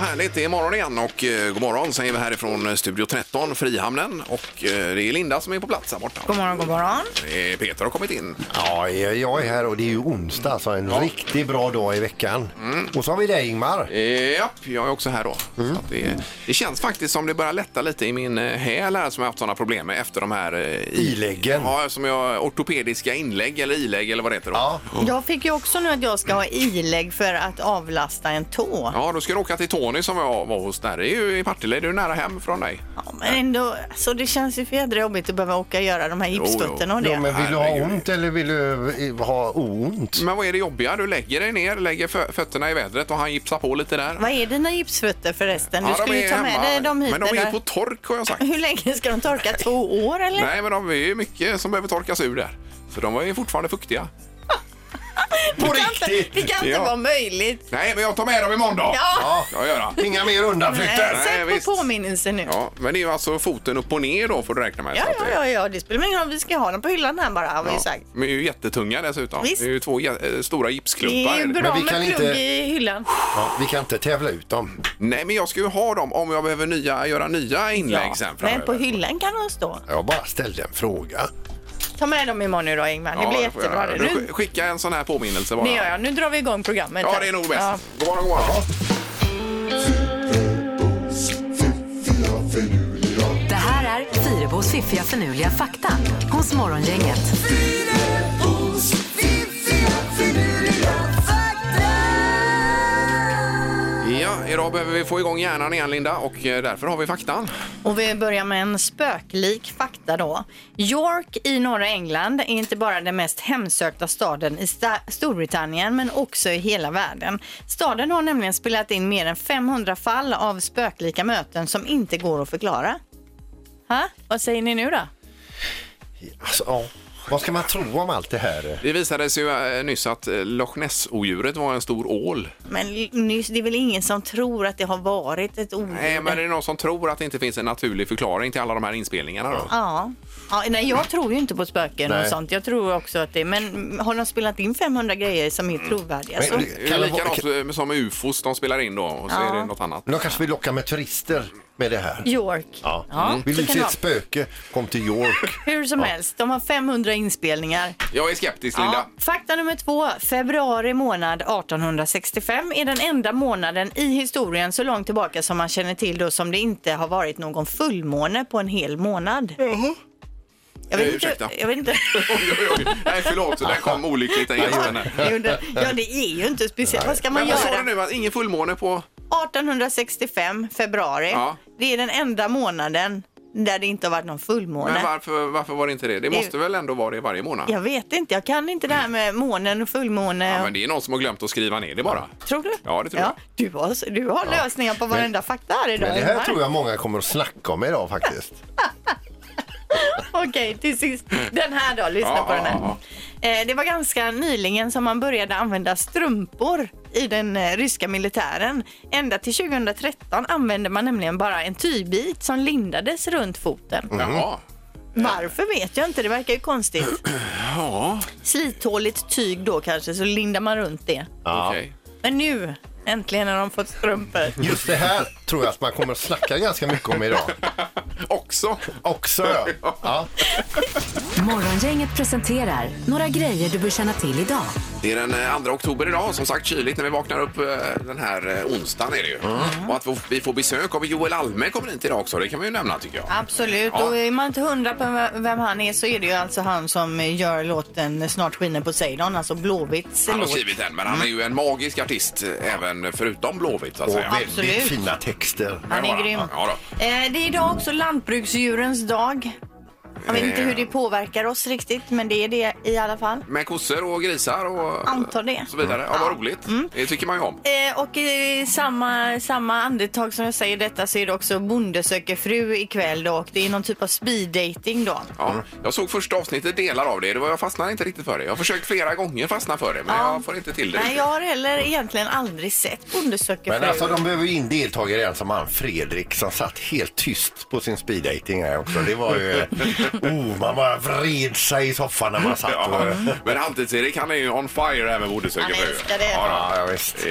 härligt, det är morgon igen och eh, god morgon säger vi härifrån eh, Studio 13, Frihamnen. Och eh, det är Linda som är på plats här borta. God morgon, god morgon. Eh, Peter har kommit in. Ja, jag är här och det är ju onsdag, så en riktigt bra dag i veckan. Och så har vi dig Ingmar. Eh, Japp, jag är också här då. Mm. Så att det, det känns faktiskt som det börjar lätta lite i min eh, häl här som jag haft sådana problem med efter de här eh, i- Iläggen. Ja, som jag, ortopediska inlägg eller ilägg eller vad det heter då. Ja. Jag fick ju också nu att jag ska ha ilägg för att avlasta en tå. Ja, då ska du åka till Tony som jag var hos där. Det är ju i Partille, det är ju nära hem från dig. Ja, men ändå, så det känns ju för jädra jobbigt att behöva åka och göra de här Jo, gipsfötterna och det. Ja, men vill du ha Herregud. ont eller vill du eh, ha oont? Men vad är det jobbiga? Du lägger dig ner, lägger fö- fötterna i vädret och han gipsar på lite där. Vad är dina gipsfötter förresten? Du Ja, de skulle är ju ta med hemma. dig dem hit. Men de är eller? på tork har jag sagt. Hur länge ska de torka? Två år eller? Nej, men de är ju mycket som behöver torkas ur där. Så de var ju fortfarande fuktiga. På det kan inte, det riktigt! kan inte Ja. vara möjligt. Nej, men jag tar med dem imorgon Ja. Eh, Ja, jag gör det. Inga mer undanflykter! Nej, Sätt på visst. påminnelse nu. Ja, men det är ju alltså foten upp och ner då får du räkna med. Ja, så att ja, ja, det- ja, det spelar ingen roll. Vi ska ha dem på hyllan här bara, har vi ju sagt. De är ju jättetunga dessutom. Visst. Det är ju två jä- eh, stora Det gipsklumpar. är ju är det. bra vi med kan plugg inte- i hyllan. Ja, vi kan inte tävla ut dem. Nej, men jag ska ju ha dem om jag behöver nya, göra nya inlägg sen men framöver. på hyllan kan de stå. Jag bara ställde en fråga. Ta med dem imorgon nu då Ingmar. Det Ja, blir får jättebra. jag göra. Det. Du Nu, sk- Skicka en sån här påminnelse bara. det gör jag. Nu drar vi igång programmet. Ja, här. det är nog bäst. Ja. God morgon, god morgon. Det här är Fyrabos fiffiga förnuliga fakta hos Morgongänget. Ja, idag behöver vi få igång hjärnan igen Linda och eh, därför har vi faktan. Och vi börjar med en spöklik fakta då. York i norra England är inte bara den mest hemsökta staden i sta- Storbritannien men också i hela världen. Staden har nämligen spelat in mer än 500 fall av spöklika möten som inte går att förklara. Ha? Vad säger ni nu då? Alltså, ja. Vad ska man tro om allt det här? Det visade sig ju eh, nyss att eh, Loch Ness-odjuret var en stor ål. Men nyss, det är väl ingen som tror att det har varit ett ord? Nej, Eh, men är det någon som tror att det inte finns en naturlig förklaring till alla de här inspelningarna då? Ja. ja nej, jag tror ju inte på spöken och Nej. sånt. Jag tror också att det Men har de spelat in 500 grejer som är trovärdiga Men så... det- Det är Kan ju det likadant vara- eh, som med ufos de spelar in då och så är det något annat. De kanske vill locka med turister med det här. York. Ja. så Vill du kan se det ett spöke? Kom till York. vara. Hur som helst, de har 500 inspelningar. Jag är skeptisk Ja. Linda. Fakta nummer två. Februari månad 1865 är den enda månaden i historien så långt tillbaka som man känner till då som det inte har varit någon fullmåne på en hel månad. Jag Eh, vet inte... ursäkta. Jag vet inte. Oj, oj, oj. Nej, förlåt, den kom olyckligt engelskan här. Jag gjorde- ja, det är ju inte speciellt. Vad ska man Men vad sa göra? du nu? Att ingen fullmåne på... 1865, februari. Ja. Det är den enda månaden där det inte har varit någon fullmåne. Men varför, varför var det inte det? Det måste väl ändå vara det varje månad? Jag vet inte, jag kan inte det här med månen och fullmåne. Ja, men det är någon som har glömt att skriva ner det bara. Tror du? Ja, det tror jag. Du har, du har lösningar på varenda fakta här idag. Men det här Ingmar. tror jag många kommer att snacka om idag faktiskt. Okej, till sist. Den här då, lyssna Ja, på den här. ja, Eh, Det var ganska nyligen som man började använda strumpor i den eh, ryska militären. Ända till 2013 använde man nämligen bara en tygbit som lindades runt foten. Jaha. Mm. Varför vet jag inte, det verkar ju konstigt. Ja, Slithåligt tyg då kanske, så lindar man runt det. okej. Men nu, äntligen har de fått strumpor. Just det här tror jag att man kommer att snacka ganska mycket om idag. Också. Också ja. ja. Morgongänget presenterar några grejer du bör känna till idag. Det är den eh, 2 oktober idag, som sagt kyligt när vi vaknar upp eh, den här eh, onsdagen är det ju. Och att vi- vi får besök av Joel Alme kommer hit idag också, det kan vi ju nämna tycker jag. Absolut, Ja. och är man inte hundra på vem- vem han är så är det ju alltså han som gör låten Snart skiner Poseidon, alltså Blåvitts Han har låt. skrivit den, men han är ju en Mm. magisk artist eh, även förutom Blåvitt så att Och säga. väldigt Absolut. fina texter. Han Ja, är grym. ja, Eh, Det är idag också lantbruksdjurens dag. Jag vet inte Eh. hur det påverkar oss riktigt, men det är det i alla fall. Med kossor och grisar och Antar det. Mm. så vidare. Ja, vad roligt. Det tycker man ju om. Eh, och i samma, samma andetag som jag säger detta så är det också Bonde söker fru ikväll då och det är någon typ av speed dating då. Ja, jag såg första avsnittet, delar av det. det var, jag fastnade inte riktigt för det. Jag har försökt flera gånger fastna för det, men Ja. jag får inte till det. Nej, riktigt. jag har heller egentligen aldrig sett Bonde söker Men fru. alltså de behöver ju in deltagare igen som han Fredrik som satt helt tyst på sin speeddating här också. Det var ju... Oh, man bara vred sig i soffan när man satt och... Ja, Mm. men Halvtids-Erik han är ju on fire här med Bodilsöga Han nu. älskar det. Ja, ja, visst. då.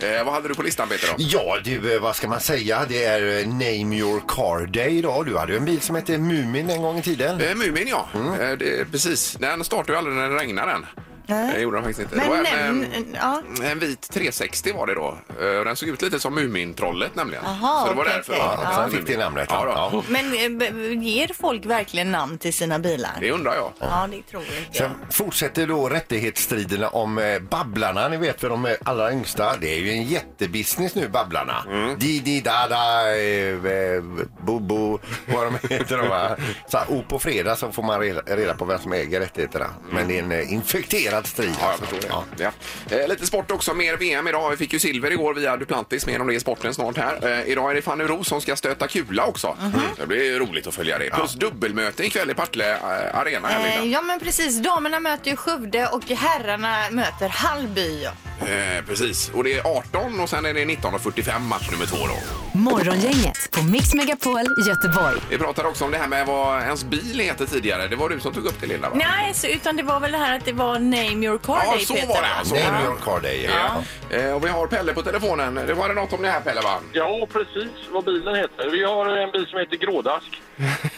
ja. Eh, vad hade du på listan Peter då? Ja, du, eh, vad ska man säga? Det är eh, Name Your Car Day idag. Du hade ju en bil som hette Mumin en gång i tiden. Eh, Mumin ja, eh, det, precis. Den startar ju aldrig när det regnar den. Nej. Det gjorde den faktiskt inte. Men det var en, nämn- en, ja. eh, en vit 360 var det då. Eh, Den såg ut lite som Mumintrollet nämligen. Aha, Så det var okej, därför. okej. man- Ja, sen fick det namnet, Ja, ja. då. Men eh, b- b- ger folk verkligen namn till sina bilar? Det undrar jag. Ja, det tror jag inte. Sen fortsätter då rättighetsstriderna om eh, Babblarna, ni vet för de eh, allra yngsta. Det är ju en jättebusiness nu, Babblarna. Mm. Didi, Dada, eh, eh, Bobo, vad de heter. de, va? Så, här, och på fredag så får man reda, reda på vem som äger rättigheterna. Men det är en eh, infekterad strid. Mm. Ja, jag alltså. förstår det. Ja. Ja. Eh, lite sport också. Mer VM idag. Vi fick ju silver igår via Duplantis. Mer om det i sporten snart här. Eh, idag är det Fanny Ros som ska stöta kula också. Mm. Det blir ju roligt att följa det. Plus dubbelmöte ikväll i Partille eh, Arena. Här, Eh, Linda. Ja men precis, damerna möter ju Skövde och herrarna möter Hallby. eh, precis. Och det är 18 och sen är det 19.45 match nummer två då. Morgongänget på Mix Megapol Göteborg. Vi pratade också om det här med vad ens bil heter tidigare. Det var du som tog upp det Linda va? Nej, så, utan det var väl det här att det var name your car Ja, day, så Peter, var det va? alltså. Name Your Car Day. Ja. Ja. Eh, och vi har Pelle på telefonen. Det var det något om det här Pelle va? Ja, precis vad bilen heter. Vi har en bil som heter Grådask.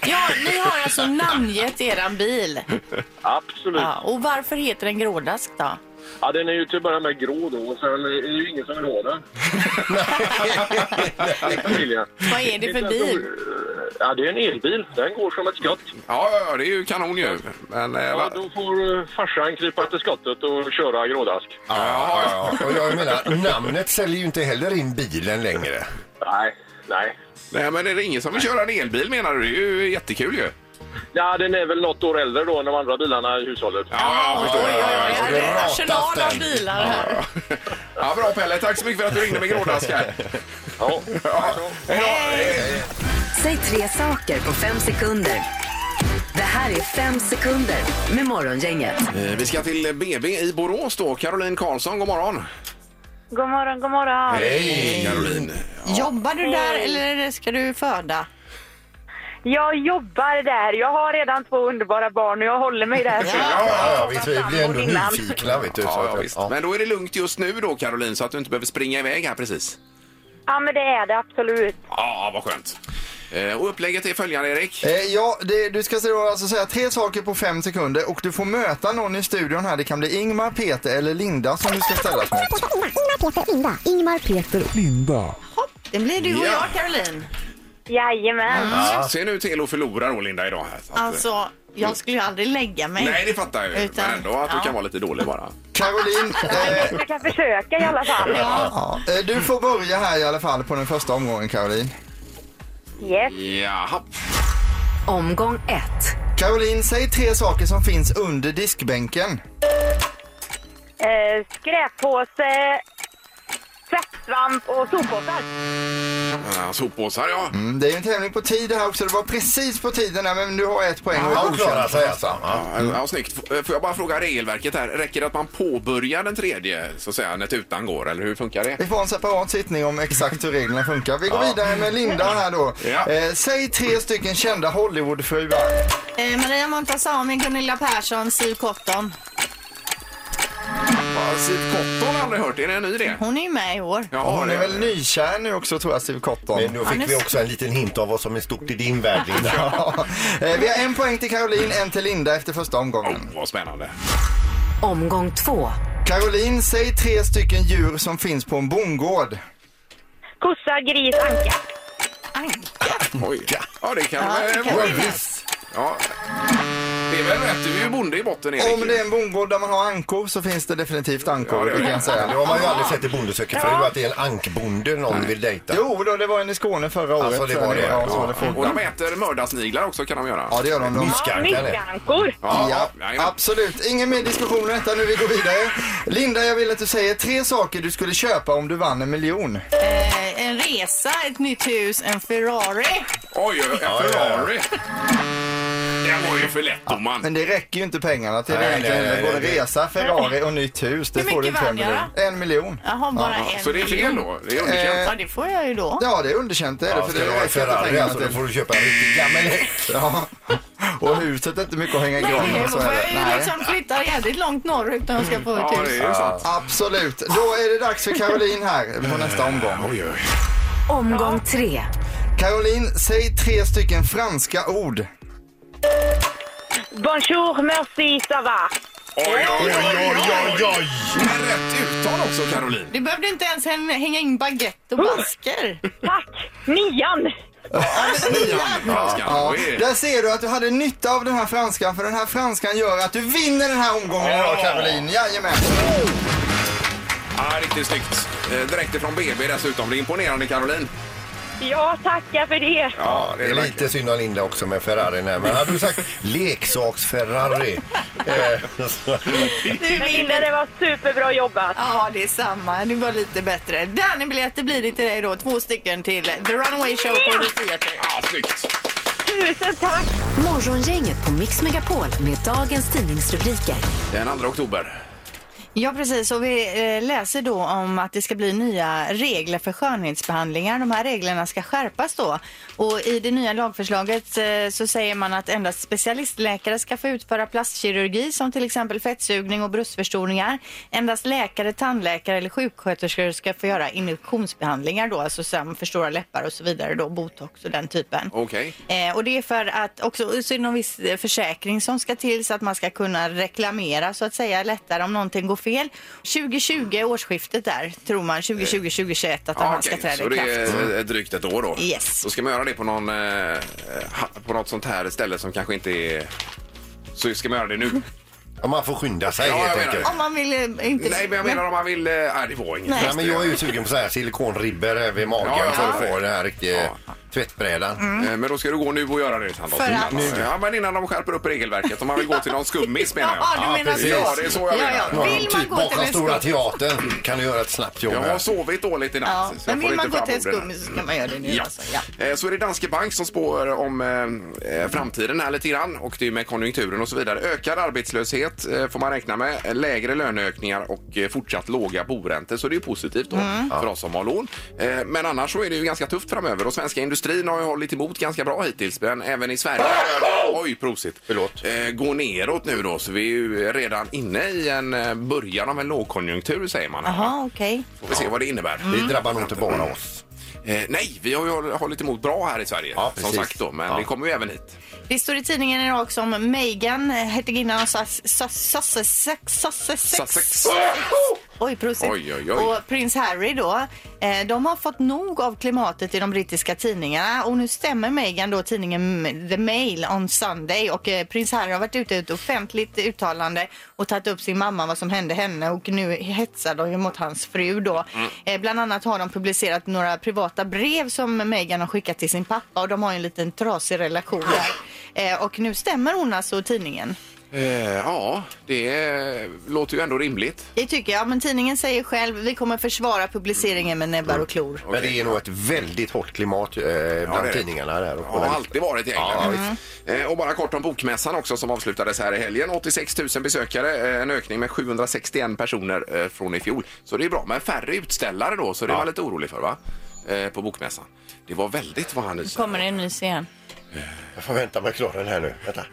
Ja, ni har alltså namngett eran bil. Absolut. Ja. Ja, och varför heter den grådask då? den är ju till att börja med grå då, och sen är det ju ingen som vill ha den. Familjen. Vad är det för bil? Ja, det är en elbil. Den går som ett skott. Ja, ja, ja, det är ju kanon ju. Men, eh, Ja, va? då får eh, farsan krypa till skottet och köra Grådask. Ja, ja, ja. Och jag menar, namnet säljer ju inte heller in bilen längre. Nej, nej. Nej, men är det ingen som vill köra en elbil menar du? Det är ju jättekul ju. Ja, den är väl något år äldre då än de andra bilarna i hushållet. Ja, jag förstår. Oj, oj, oj, här det är en ratas arsenal av den. bilar här. Ja, bra Pelle, tack så mycket för att du ringde med grådask här. Ja. Ja, hej då. Säg tre saker på fem sekunder. Det här är fem sekunder med Morgongänget. Eh, Vi ska till BB i Borås då. Caroline Karlsson, god morgon. God morgon, god morgon. Hej Caroline. Jobbar du där eller ska du föda? Jag jobbar där. Jag har redan två underbara barn och jag håller mig där. Ja, ja, ja, visst, vi sambo blir ändå innan. nyfikna. Vet du, Ja, så ja, att- visst. ja. Men då är det lugnt just nu då Caroline så att du inte behöver springa iväg här precis. Ja, men det är det absolut. Ja, vad skönt. Eh, Och upplägget är följande Erik. Eh, ja, det, du ska så- alltså säga tre saker på fem sekunder och du får möta någon i studion här. Det kan bli Ingmar, Peter eller Linda som du ska ställas mot. Hopp, det blir du och Ja. jag Caroline. Jajamän. Se nu till att förlora då Linda idag. Här, så att, eh, Alltså, jag skulle ju aldrig lägga mig. Nej, det fattar jag ju. Utan- men ändå att du ja. kan vara lite dålig bara. Caroline, eh, Jag kan försöka i alla fall. ja, eh, du får börja här i alla fall på den första omgången Caroline. Yes. Jaha. Omgång ett. Caroline, säg tre saker som finns under diskbänken. Eh, skräppåse, tvättsvamp och soppåsar. Ah, Soppåsar ja. Mm, det är ju en tävling på tid det här också. Det var precis på tiden här men du har ett poäng och Ja, är hon klarar godkänd. sig alltså. Ja. Ja, ja, snyggt. F- eh, Får jag bara fråga regelverket här. Räcker det att man påbörjar den tredje så att säga när tutan går eller hur funkar det? Vi får en separat sittning om exakt hur reglerna funkar. Vi går vidare med Linda här då. Ja. Eh, säg tre stycken kända Hollywoodfruar. Eh, Maria Montazami, Gunilla Persson, Siw Cotton. Ja, Siv Cotton har jag aldrig hört. Är det en ny det? Hon är ju med i år. Ja, Hon är väl nykär nu också tror jag, Siv Cotton. Men då fick vi också en liten hint av vad som är stort i din värld, Linda. Ja. Eh, Vi har en poäng till Caroline, en till Linda efter första omgången. Oh, Vad spännande. Omgång två. Caroline, säg tre stycken djur som finns på en bondgård. Kossa, gris, anka. Oj. Ja, det kan Ja, det väl kan vara. det. Visst. Ja. Det är väl rätt. Du är ju bonde i botten, Erik. Om det är en bondgård där man har ankor så finns det definitivt Ja, ankor, det är det kan det. jag Det säga. har man ju aldrig sett i Bonde söker fru, att det är en ankbonde någon vill dejta. Jo, då, det var en i Skåne förra året. Alltså, det tror jag var det. Ja, så det Ja. Och funkar. de äter mördarsniglar också kan de göra. ja, det gör de. de. Ja, Myskankar det. myskankor. Ja, jajamän. absolut. Ingen mer diskussion om detta nu. Vi går vidare. Linda, jag vill att du säger tre saker du skulle köpa om du vann en miljon. Eh, en resa, ett nytt hus, en Ferrari. Oj, en Ferrari. Det var ju för lätt, domaren. Men det räcker ju inte pengarna till Nej, det egentligen. nej, nej, Det går en nej, nej. resa, Ferrari och nytt hus. Det Hur får mycket du inte vann jag miljoner. En miljon. Jaha, bara Ja, en. Eh, så det är fel då? Det är underkänt. Eh, Ja, det får jag ju då. Ja, det är underkänt det är det. Ja, För ska det du ha en räcker inte Ferrari pengarna alltså, då till. får du köpa en riktig gammal häck. Ja. Och huset är inte mycket att hänga i Nej, granen. jag så är det. får ju liksom flytta jävligt långt norrut när jag ska få ett Ja, det hus. är ju sant. Absolut. Då är det dags för Caroline här på nästa omgång. Oj, oj. Omgång tre. Caroline, säg tre stycken franska ord. Bonjour, merci, ça va. Oj, oj, oj, oj, oj, oj. Men rätt uttal också, Caroline. Du behövde inte ens häng- hänga in baguette och basker. Tack! Nian! Ja, Ja, där ser du att du hade nytta av den här franskan för den här franskan gör att du vinner den här omgången idag Ja. Caroline. Jajamän. ja, riktigt snyggt. Eh, Direkt ifrån BB dessutom. Det är imponerande, Caroline. Ja, tackar för det. Ja, Det är lite synd om Linda också med Ferrari här, men hade du sagt leksaks-Ferrari? eh, så- Men Linda, det var superbra jobbat. Ja, det är samma. Du var lite bättre. Danny-biljetter blir det till dig då. Två stycken till The Runaway Show på The Theatre. Ja, snyggt. Tusen tack! Morgongänget på Mix Megapol med dagens tidningsrubriker. Den 2 oktober. Ja, precis. Och vi eh, läser då om att det ska bli nya regler för skönhetsbehandlingar. De här reglerna ska skärpas då. Och i det nya lagförslaget eh, så säger man att endast specialistläkare ska få utföra plastkirurgi som till exempel fettsugning och bröstförstoringar. Endast läkare, tandläkare eller sjuksköterskor ska få göra injektionsbehandlingar då, alltså som förstora läppar och så vidare då, botox och den typen. Okej. Eh, och det är för att också så är det någon viss eh, försäkring som ska till så att man ska kunna reklamera så att säga lättare om någonting går fel. 2020 årsskiftet där tror man 2020 2021 att den här ska Eh, träda okej. Så i det är kraft. eh, drygt ett år då. Yes. Då ska man göra det på, någon, eh, ha- på något sånt här ställe som kanske inte är... Så ska man göra det nu? ja, man får skynda sig Ja, jag helt menar enkelt. det. Om man vill eh, inte... Nej, men jag menar om man vill... eh, Nej, det var inget. Nej, men jag är ju sugen på så här silikonribbor över magen Ja, ja, för att ja. få den här riktiga Ja. tvättbrädan. Eh, Men då ska du gå nu och göra det. Sandra. För att- Mm. Ja, men innan de skärper upp regelverket. Om man vill gå till någon skummis menar jag. Ja, du menar precis. så. Ja, det är så jag menar. Ja, ja. Ja, Vill man typ gå till bakom en Stora skummis? Teatern kan du göra ett snabbt jobb Jag har här. sovit dåligt i natt. Ja, så jag men får vill inte man gå fram till en orden. skummis så kan man göra det nu. Ja. Alltså. Ja. Eh, Så är det Danske Bank som spår om eh, framtiden här lite grann och det är med konjunkturen och så vidare. Ökad arbetslöshet eh, får man räkna med, eh, lägre löneökningar och eh, fortsatt låga boräntor. Så det är ju positivt då Mm. för oss som har lån. Eh, Men annars så är det ju ganska tufft framöver och svenska industrin har ju hållit emot ganska bra hittills. Men även i Sverige, oj prosit, Förlåt. Eh, går neråt nu då. Så vi är ju redan inne i en eh, början av en lågkonjunktur säger man. här, va? Jaha, okej. Får vi se vad det innebär. Det drabbar nog inte bara oss. Eh, nej, vi har ju håll- hållit emot bra här i Sverige. Ja, som precis. sagt då, men Ja. vi kommer ju även hit. Det står i tidningen idag också om Meghan, hertiginnan av Sus- Sus- Sussex. Sussex. Sussex. Oj, prosit. Oj, oj, oj. Och prins Harry då, eh, de har fått nog av klimatet i de brittiska tidningarna och nu stämmer Meghan då tidningen M- The Mail on Sunday och eh, prins Harry har varit ute i ett offentligt uttalande och tagit upp sin mamma vad som hände henne och nu hetsar de ju mot hans fru då. Mm. Eh, bland annat har de publicerat några privata brev som Meghan har skickat till sin pappa och de har ju en liten trasig relation där. Eh, och nu stämmer hon alltså tidningen. Eh, ja, det eh, låter ju ändå rimligt. Det tycker jag, men tidningen säger själv vi kommer försvara publiceringen med näbbar och klor. Men det är nog ett väldigt hårt klimat eh, bland det är det. tidningarna där. Och Har journalister. alltid varit i Ja, England. Eh, och bara kort om Bokmässan också som avslutades här i helgen. 86 000 besökare, eh, en ökning med 761 personer eh, från i fjol. Så det är bra, men färre utställare då, så det var lite orolig för va? Eh, på Bokmässan. Det var väldigt vad han nyser. Kommer det en nys igen? Jag får vänta med klara den här nu. Vänta.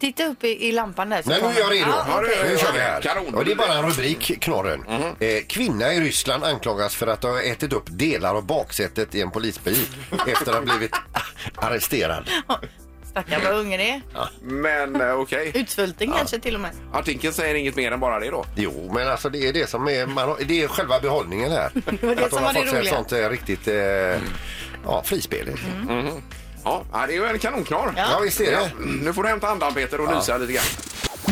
Titta upp i, i lampan där. så Nej, nu är kommer- jag redo. Ja, Ja, Nu kör vi Kanon. här. Och det är bara en rubrik, knorren. Eh, kvinna i Ryssland anklagas för att ha ätit upp delar av baksätet i en polisbil efter att ha blivit arresterad. Stackarn vad hungrig är. Men eh, okej, Utsvulten kanske till och med. artikeln säger inget mer än bara det då. Jo, men alltså det är det som är, man, har- det är själva behållningen här. var det att som de var det har fått sig ett roliga. sånt eh, riktigt eh, ja, frispel. Mm. Ja, ja, det är ju en kanonknar. Ja. visst är det. Nu får du hämta andan Peter och nysa lite grann.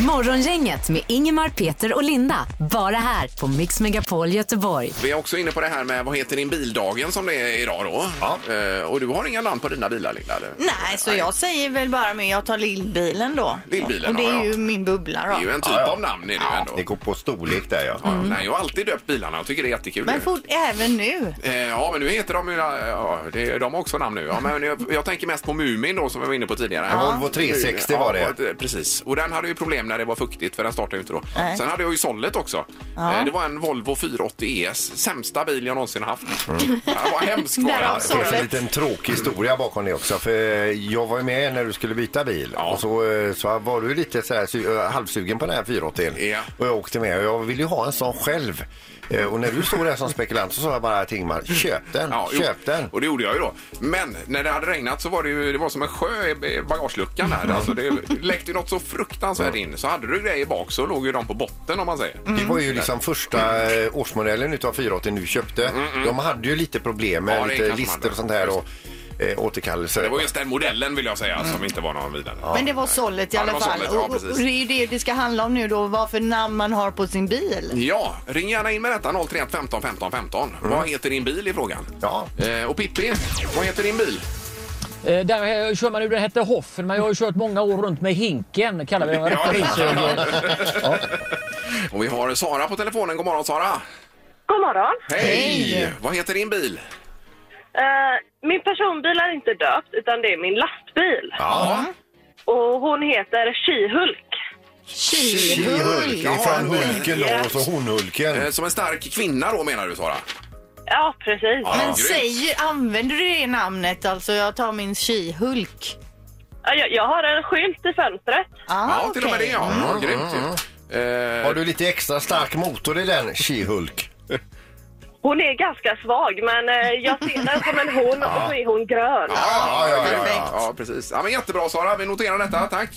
Morgongänget med Ingemar, Peter och Linda. Bara här på Mix Megapol Göteborg. Vi är också inne på det här med vad heter din bildagen som det är idag då. Ja. Eh, och du har inga namn på dina bilar Linda? Eller? Nej, så jag säger väl bara men jag tar lillbilen då. Lillbilen, Och det är ja, ja. ju min bubbla Det är ju då. en typ Ja, ja. av namn är det ju ändå. Det går på storlek där ja. Ja, ja. Nej, jag har alltid döpt bilarna. Jag tycker det är jättekul. Men fort, även nu. Eh, Ja, men nu heter de ju... Ja, det, de har också namn nu. Ja, men jag, jag tänker mest på Mumin då som vi var inne på tidigare. Ja, Volvo 360 var det. och- eh, Precis. Och den hade ju problem hem när det var fuktigt för den startade ju inte då. Nej. Sen hade jag ju sållet också. Eh, Det var en Volvo 480 ES. Sämsta bil jag någonsin haft. Mm. Det var hemskt. var Därav det. så. Det finns en Sorry. liten tråkig historia bakom det också. För eh, jag var ju med när du skulle byta bil Ja. och så, eh, så var du lite så här, su- eh, halvsugen på den här 480 Ja. Och jag åkte med och jag ville ju ha en sån själv. Eh, Och när du stod där som spekulant så sa jag bara till Ingmar, köp den, Ja, jo. köp den. Och det gjorde jag ju då. Men när det hade regnat så var det ju det var som en sjö i bagageluckan Mm. där. Alltså det läckte ju något så fruktansvärt in. Så hade du grejer bak så låg ju de på botten om man säger. Det var ju liksom första eh, årsmodellen utav 480 du köpte. De hade ju lite problem med Mm, Ja, det kanske lite man lister hade. och sånt här och eh, återkallelser. Det var just den modellen vill jag säga Mm. som inte var någon vidare. Men det var sållet i Ja, det alla var fall. sållet, ja, och, och precis. det är ju det det ska handla om nu då, vad för namn man har på sin bil. Ja, ring gärna in med detta 031 15 15 15. Mm. Vad heter din bil i frågan? Ja. Eh, och Pippi, vad heter din bil? Eh, Där eh, kör man nu, den hette Hoffen, men jag har ju kört många år runt med Hinken, kallar vi den. rätta bilserien. Ja. Och vi har Sara på telefonen. God morgon Sara! God morgon. Hej! Vad heter din bil? Eh, min personbil är inte döpt, utan det är min lastbil. Ja. Och hon heter Kihulk. Hulk, Ja, ifrån men- Hulken då och så Eh, Honhulken. Som en stark kvinna då menar du Sara? Ja, precis. Ja, Men grymt. säger, använder du det namnet alltså? Jag tar min She-Hulk. Ja, Jag, jag har en skylt i fönstret. Ah, Ja, till och med det okej. ja. ja grymt ju. Eh, Har du lite extra stark motor i den, She-Hulk? Hon är ganska svag, men eh, jag ser den som en hon och så är hon grön. Ja, ja, ja, ja. Ja, ja, precis. Ja, men jättebra Sara, vi noterar detta. Tack!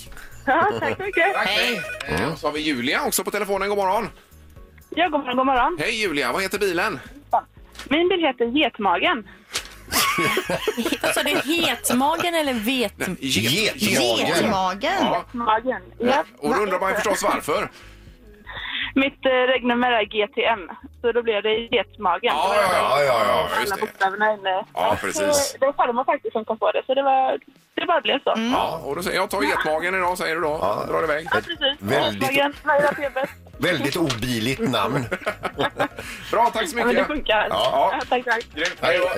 Ja, tack så mycket. Tack hej! Eh, och Så har vi Julia också på telefonen. God morgon! Ja, god morgon, god morgon. Hej Julia, vad heter bilen? Min bil heter Getmagen. Alltså det är hetmagen eller vet... Get- Getmagen. Getmagen? Ja, Magen. Ja. och då undrar man ju förstås varför. Mitt eh, regnummer är GTM, så då blev det Getmagen. Det Ja, var ja, ja, ja, ja just Alla det. bokstäverna inne. Ja, precis. Så Det var farmor faktiskt som kom på det, så det, var, det bara blev så. Ja, och då säger jag tar getmagen idag säger du då. Ja. Drar iväg. Ja, precis. Väldigt- Getmagen, Laila Pebes. Väldigt obiligt namn. Bra, tack så Ja, men det mycket. funkar. Ja. tack, tack. Grymt, hej då.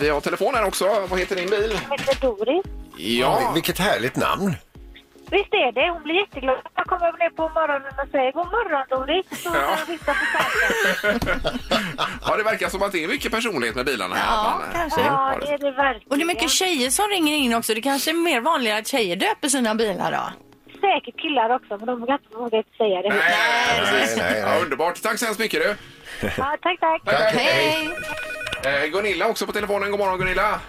Vi har telefon här också. Vad heter din bil? Jag heter Doris. Ja, Vilket härligt namn. Visst är det? Hon blir jätteglad. Jag kommer ner på morgonen och säger god morgon Doris. Och Ja. viftar på sargen. ja, det verkar som att det är mycket personlighet med bilarna här. Ja, Att man, eh, kanske. har- det är det verkligen. Och det är mycket tjejer som ringer in också. Det kanske är mer vanligt att tjejer döper sina bilar då? Säkert killar också, men de vågar inte- vågar inte säga det. Nej, precis. Nej, nej, nej. eh, Ja, underbart. Tack så hemskt mycket du. Ja, tack, tack. Hej! Eh, Gunilla också på telefonen. God morgon Gunilla.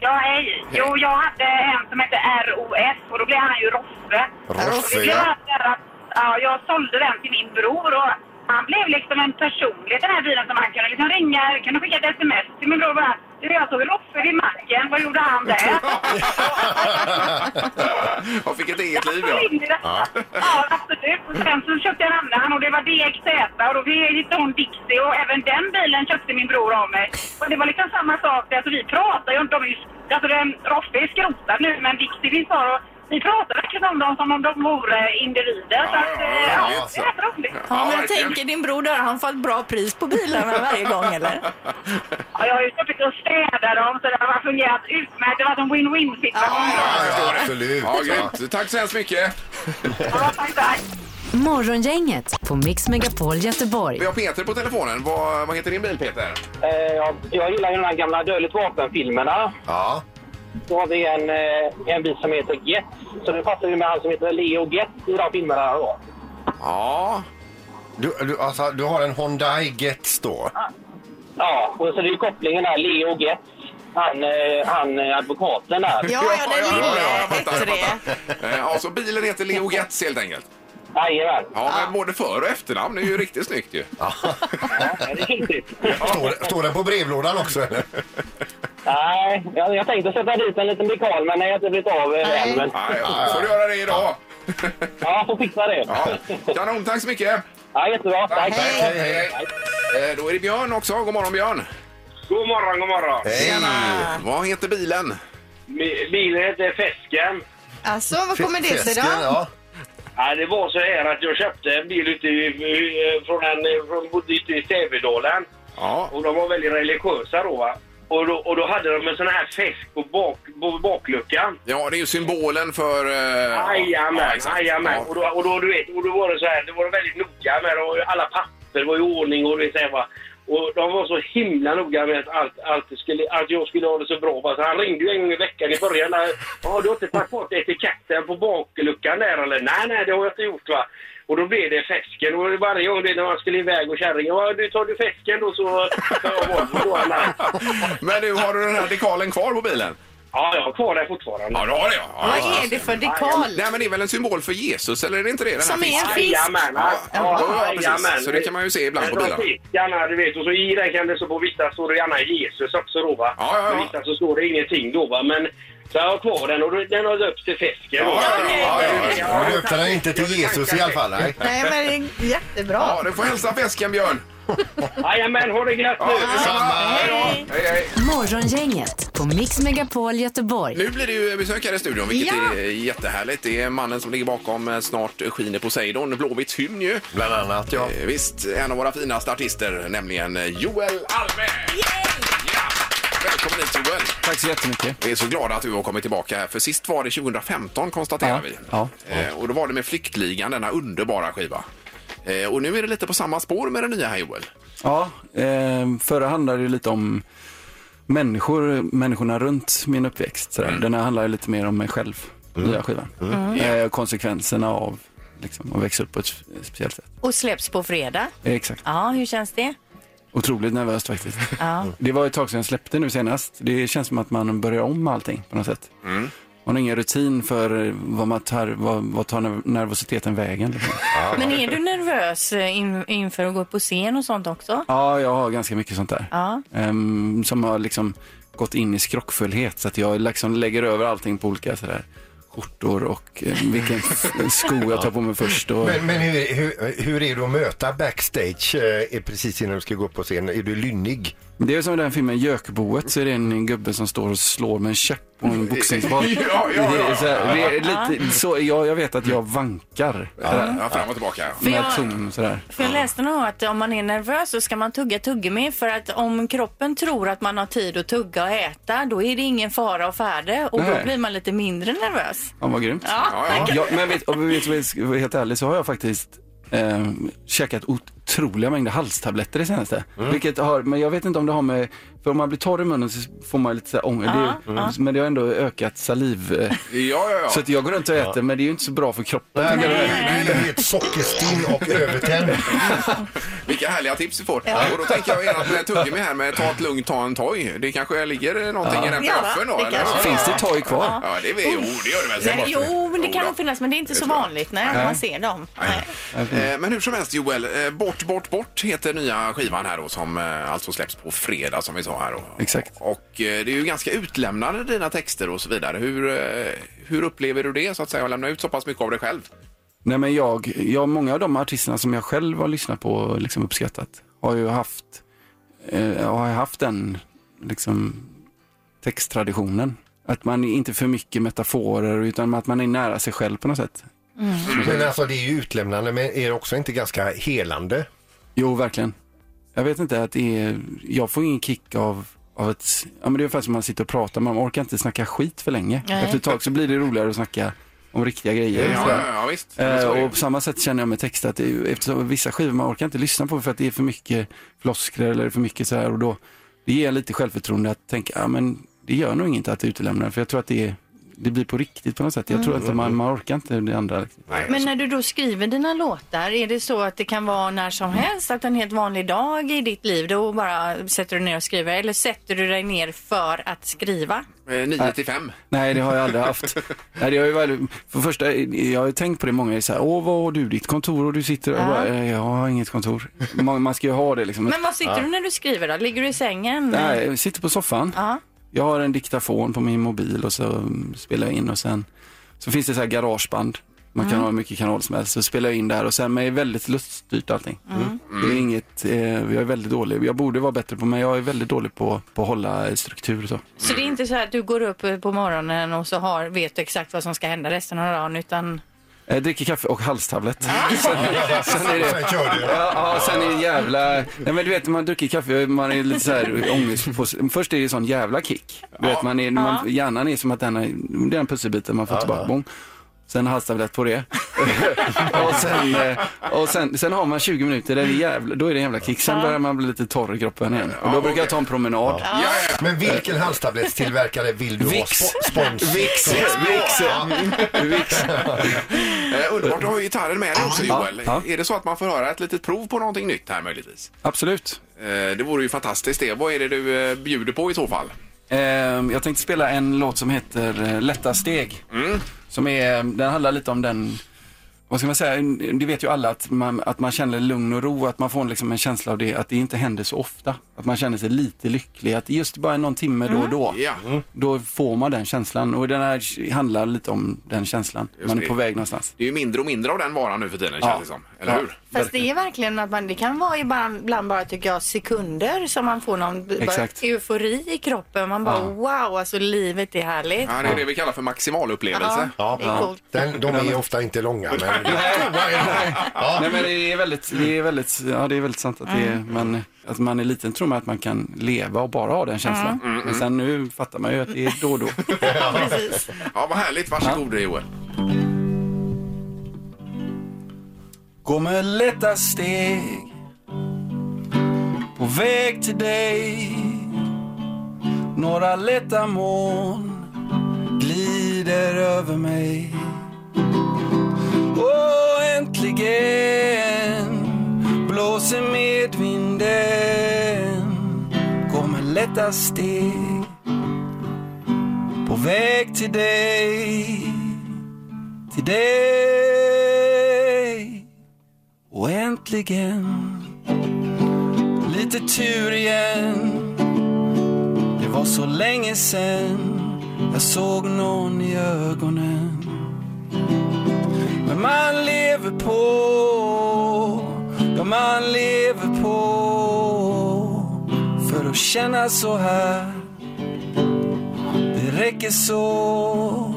Ja, hej. Jo, jag hade en som hette ROS och då blev han ju Roffe. Roffe, Det blev ja. att jag- Ja, jag sålde den till min bror och han blev liksom en personlighet den här bilen som han kunde liksom ringa, kunde skicka ett sms till min bror bara du, jag såg Roffe vid macken, vad gjorde han där? Jag fick ett eget liv Så ja. ringde det. Ja. Ja, absolut. Och sen så köpte jag en annan och det var DXZ och då hittade hon Dixie och även den bilen köpte min bror av mig. Och det var liksom samma sak där, alltså vi pratar ju inte om just, alltså den, Roffe är skrotad nu men Dixie finns kvar och vi pratar verkligen om dem som om de vore individer. så Ja, att, ja, eh, ja, ja, alltså. det är rätt roligt. Ja, men jag verkligen. tänker din bror där, han får ett bra pris på bilarna varje gång eller? Ja, jag har ju suttit och städat dem så det har fungerat utmärkt. Det har varit en win-win situation. Ja, absolut. Ja, grymt. Tack så hemskt mycket. Ja, tack, tack. Morgongänget på Mix Megapol Göteborg. Vi har Peter på telefonen. Vad, vad heter din bil Peter? Eh, jag, jag gillar ju de här gamla Dödligt vapen-filmerna. Ja. Då har vi en, eh, en bit som heter Get. Så det passar ju med han som heter Leo Get i de filmerna då. Ja, Du, du, alltså, du har en Hyundai Getz då? Ja, och så det är ju kopplingen där, Leo Get. Han, eh, han eh, advokaten där. Ja, ja, den ja, ja, lille jag fattar, hette jag det. fattar. Eh, Ja, så bilen heter Leo Getz helt enkelt. Jajamän. Ja, men både för och efternamn är ju riktigt snyggt ju. Ja, det är riktigt. Står, står den på brevlådan också eller? Nej, jag, jag tänkte sätta dit en liten dekal men nej, jag har inte blivit av eh, än. Men Nej, ja, får du göra det idag. ja, får fixa det. Ja. Kanon, tack så mycket. Ja, jättebra. Tack. Hej, hej. Eh, Då är det Björn också. God morgon Björn. God morgon, god morgon. Hej! Vad heter bilen? Mi- Bilen heter Fesken. Alltså, vad kommer det sig då? Fisken, ja. Ja, det var så här att jag köpte en bil ute i, eh, i- från en, från bodde ute i Sävedalen. Ja, Och de var väldigt religiösa då va. Och då, och då hade de en sån här fäsk på, bak, på bakluckan. Ja, det är ju symbolen för... eh, ja, Jajamän, exakt. jajamän. Ja. Och, då, och, då, du vet, och då var det så här, det var de väldigt noga med det och alla papper var i ordning och du vet så här, va. Och de var så himla noga med att, allt, allt skulle, att jag skulle ha det så bra. va. Så han ringde ju en gång i veckan i början. Där, ja, du har inte tagit bort etiketten på bakluckan där eller? Nej, nej, det har jag inte gjort va. Och då blev det fäsken. Och varje gång det när man skulle iväg och kärringen, ja du tar du fäsken då så tar jag bort då, alla. Men nu har du den här dekalen kvar på bilen? Ja, jag har kvar den fortfarande. Ja, du har det ja. ja. Vad är det för dekal? Nej, men det är väl en symbol för Jesus, eller är det inte det? Den här Som är en fisken? fisk. Jajamän, Ja, ja, ja, ja, jajamän. precis. Så det kan man ju se ibland på Men de bilarna. fick Gärna, du vet, och så i den kan det stå på vissa står det gärna Jesus också då va. Ja, ja, ja. På vissa så står det ingenting då va. Men så jag har kvar den och den har döpts till Fesken. Ja, ja, ja, ja, Ja, Du döpte den inte till Jesus i alla fall. Nej. Nej, men det är jättebra. Ja, du får hälsa väskan Björn. Jajamän, ha det gött nu! detsamma. Hej då. Hej, hej. Morgongänget på Mix Megapol Göteborg. Nu blir det ju besökare i studion, vilket Ja. är jättehärligt. Det är mannen som ligger bakom eh, Snart skiner Poseidon, Blåvitts hymn ju. Bland annat, ja. Eh, Visst, en av våra finaste artister, nämligen eh, Joel Alme. Ja. Välkommen hit Joel! Tack så jättemycket. Vi är så glada att du har kommit tillbaka här, för sist var det 2015 konstaterar Ja, vi. ja. Eh, Och då var det med Flyktligan, denna underbara skiva. Eh, Och nu är det lite på samma spår med den nya här Joel. Ja, eh, förra handlade ju lite om människor, människorna runt min uppväxt. Sådär. Den här handlar ju lite mer om mig själv, nya skivan. Eh, konsekvenserna av liksom, att växa upp på ett speciellt sätt. Och släpps på fredag. Eh, exakt. Ja, hur känns det? Otroligt nervöst faktiskt. Ja. Det var ett tag sedan jag släppte nu senast. Det känns som att man börjar om med allting på något sätt. Man har ingen rutin för vad, man tar, vad, vad tar nerv- nervositeten vägen. Liksom. Men är du nervös eh, in, inför att gå upp på scen och sånt också? Ja, jag har ganska mycket sånt där. Ja. Ehm, som har liksom gått in i skrockfullhet så att jag liksom lägger över allting på olika sådär skjortor och eh, vilken f- sko jag tar på mig först. Och... Men, men hur, hur, hur är du att möta backstage eh, är precis innan du ska gå upp på scen? Är du lynnig? Det är som i den filmen Jökboet så är det en gubbe som står och slår med en käpp på en boxningsboll. Ja, ja, ja. Det är så här, det är lite, så, jag, jag vet att jag vankar sådär, Ja, fram och tillbaka. För med jag- tum sådär. För jag läste nog att om man är nervös så ska man tugga tuggummi för att om kroppen tror att man har tid att tugga och äta då är det ingen fara och färde och då Nej. blir man lite mindre nervös. Ja, vad grymt. Ja. Ja, ja. Ja, men vet, och vet, vet, vet, helt ärligt så har jag faktiskt eh, käkat otroliga mängder halstabletter det senaste. Mm. Vilket har, men jag vet inte om det har med, för om man blir torr i munnen så får man lite så här ånger. Det är ju- Men det har ändå ökat saliv. eh, Ja, ja, ja. Så att jag går runt och äter men det är ju inte så bra för kroppen. Nej, nej, nej. Det är ett sockerstinn och övertänd. Vilka härliga tips vi får. Och då tänker jag gärna med tuggummi här med ta ett lugnt, ta en toj. Det kanske ligger någonting i den Ja, bluffen då? det Eller? kanske- Finns det tag kvar? Ja, det, är, jo, det gör det väl Nej, säkert. jo, men det kan då. nog finnas men det är inte så tror jag. vanligt när man ser dem. Nej. Mm. Eh, Men hur som helst Joel, eh, Bort, bort, bort heter nya skivan här då som eh, alltså släpps på fredag som vi sa här då. Exakt. Och eh, det är ju ganska utlämnande dina texter och så vidare. Hur, eh, hur upplever du det så att säga att lämna ut så pass mycket av dig själv? Nej, men jag, jag, många av de artisterna som jag själv har lyssnat på och liksom uppskattat har ju haft, eh, har ju haft den liksom, texttraditionen. Att man är inte för mycket metaforer utan att man är nära sig själv på något sätt. Men alltså det är ju utlämnande men är det också inte ganska helande? Jo, verkligen. Jag vet inte att det är, jag får ingen kick av, av ett, ja men det är ungefär som man sitter och pratar, man orkar inte snacka skit för länge. Nej. Efter ett tag så blir det roligare att snacka om riktiga grejer. och Ja, sådär. ja, ja visst. Eh, Så är det ju. och på samma sätt känner jag med text att det är, ju- eftersom vissa skivor man orkar inte lyssna på för att det är för mycket floskler eller för mycket så här och då det ger en lite självförtroende att tänka, ja men det gör nog inget att utelämna för jag tror att det, är, det blir på riktigt på något sätt. Jag tror Mm. att man, man orkar inte det andra. liksom. Men när du då skriver dina låtar, är det så att det kan vara när som helst, att en helt vanlig dag i ditt liv, då bara sätter du ner och skriver eller sätter du dig ner för att skriva? Eh, 9 till 5. Nej, det har jag aldrig haft. Nej, det har ju väl, för första, jag har ju tänkt på det många gånger, så här, åh vad har du ditt kontor och du sitter och jag bara, "Eh, jag har inget kontor. Man, man ska ju ha det liksom. Men vad sitter du när du skriver då? Ligger du i sängen? Nej, jag sitter på soffan. Ja. Jag har en diktafon på min mobil och så mm, spelar jag in och sen så finns det så här garageband. Man kan ha hur mycket kanal som helst. Så spelar jag in där och sen men det är väldigt luststyrt allting. Det är inget, eh, jag är väldigt dålig. Jag borde vara bättre på men jag är väldigt dålig på, på att hålla struktur och så. Så det är inte så här att du går upp eh, på morgonen och så har, vet du exakt vad som ska hända resten av dagen utan Eh, dricker kaffe och halstablett. Sen, sen är det... Sen kör du. Ja, ja, sen är det jävla... Nej, men du vet, när man dricker kaffe, man är lite så här ångest. På... Först är det sån jävla kick. Du vet, man är, man, hjärnan är som att den är, det är en pusselbiten man får tillbaka. Bong. Sen halstablett på det. och sen, eh, och sen, sen har man 20 minuter, där det är jävla, då är det en jävla kick. Sen börjar man bli lite torr i kroppen igen. Och då brukar jag ta en promenad. Men vilken halstablettstillverkare vill du ha Vicks. spo- spons? Vicks. Vicks. Vicks. Eh, underbart, du har ju gitarren med dig också Ja. Joel. Ja. Är det så att man får höra ett litet prov på någonting nytt här möjligtvis? Absolut. Eh, det vore ju fantastiskt det. Vad är det du eh, bjuder på i så fall? Ehm, Jag tänkte spela en låt som heter eh, Lätta steg. Mm. Som är, den handlar lite om den, vad ska man säga, det vet ju alla att man, att man känner lugn och ro, att man får liksom en känsla av det, att det inte händer så ofta. Att man känner sig lite lycklig, att just bara någon timme då och då, Mm. Ja. då får man den känslan. Och den här handlar lite om den känslan. Just man är det. på väg någonstans. Det är ju mindre och mindre av den varan nu för tiden känns det som. Eller Ja. hur? Fast det är verkligen att man, det kan vara ibland, ibland bara tycker jag sekunder som man får någon b- bara Exakt. eufori i kroppen. Man bara Ja. wow, alltså livet är härligt. Ja, det är det vi kallar för maximalupplevelse. Ja, Det är coolt. Den, de är ofta inte långa, men Nej men det är väldigt, det är väldigt, ja det är väldigt sant att det Mm. är, men att man är liten tror man att man kan leva och bara ha den Mm. känslan. Men sen nu fattar man ju att det är då och då. Ja, vad härligt. Varsågod Joel. Gå med lätta steg på väg till dig Några lätta moln glider över mig Och äntligen blåser medvinden Gå med lätta steg på väg till dig Till dig och äntligen lite tur igen. Det var så länge sen jag såg någon i ögonen. Men man lever på, ja man lever på för att känna så här. Det räcker så,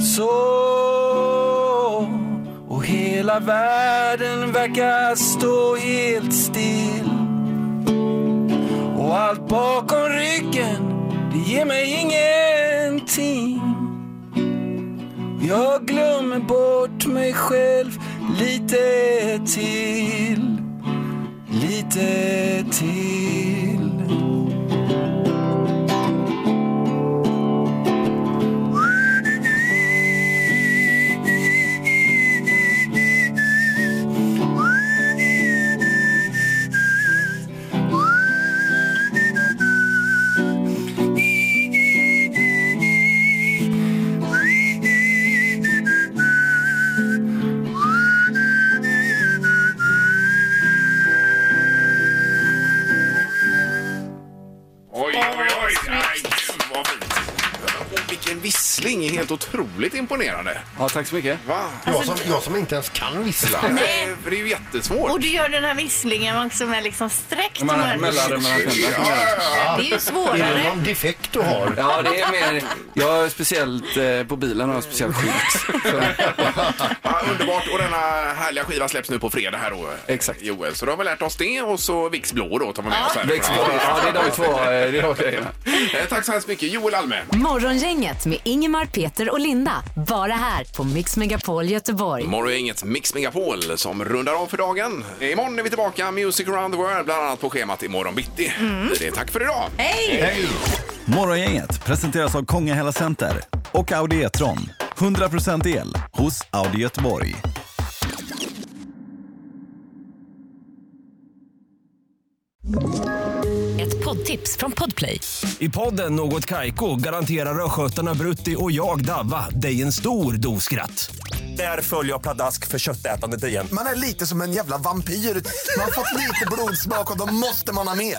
så. Och hela världen verkar stå helt still Och allt bakom ryggen, det ger mig ingenting Jag glömmer bort mig själv lite till Lite till Oj, oj, oj! Nej, gud vad fint. Vilken vissling! Helt otroligt imponerande. Ja, tack så mycket. Va? jag som, jag som inte ens kan vissla. Nej. Det är ju jättesvårt. Och du gör den här visslingen också med liksom sträckt Man har mun. mellanrum mellan tänderna. Det är ju Är det svårare. någon defekt du har? Ja, det är mer... Jag är speciellt... Eh, på bilen har jag speciellt skydd. Ja, underbart. Och denna härliga skiva släpps nu på fredag här då. Exakt. Joel, så då har vi lärt oss det och så Vicks blå då tar vi med oss här. Växel, ja, det är de två, eh, det är de grejerna. Eh, Tack så hemskt mycket Joel Alme. Morgongänget med Ingemar, Peter och Linda. Bara här på Mix Megapol Göteborg. Morgongänget Mix Megapol som rundar av för dagen. Imorgon är vi tillbaka Music around the world bland annat på schemat imorgon bitti. Det är tack för idag. Morgongänget presenteras av Konga Hela Center och Audi E-tron. 100% el hos Audi Göteborg. Ett poddtips från Podplay. I podden Något Kaiko garanterar östgötarna Brutti och jag, Davva, dig en stor dos skratt. Där följer jag pladask för köttätandet igen. Man är lite som en jävla vampyr. Man har fått lite blodsmak och då måste man ha mer.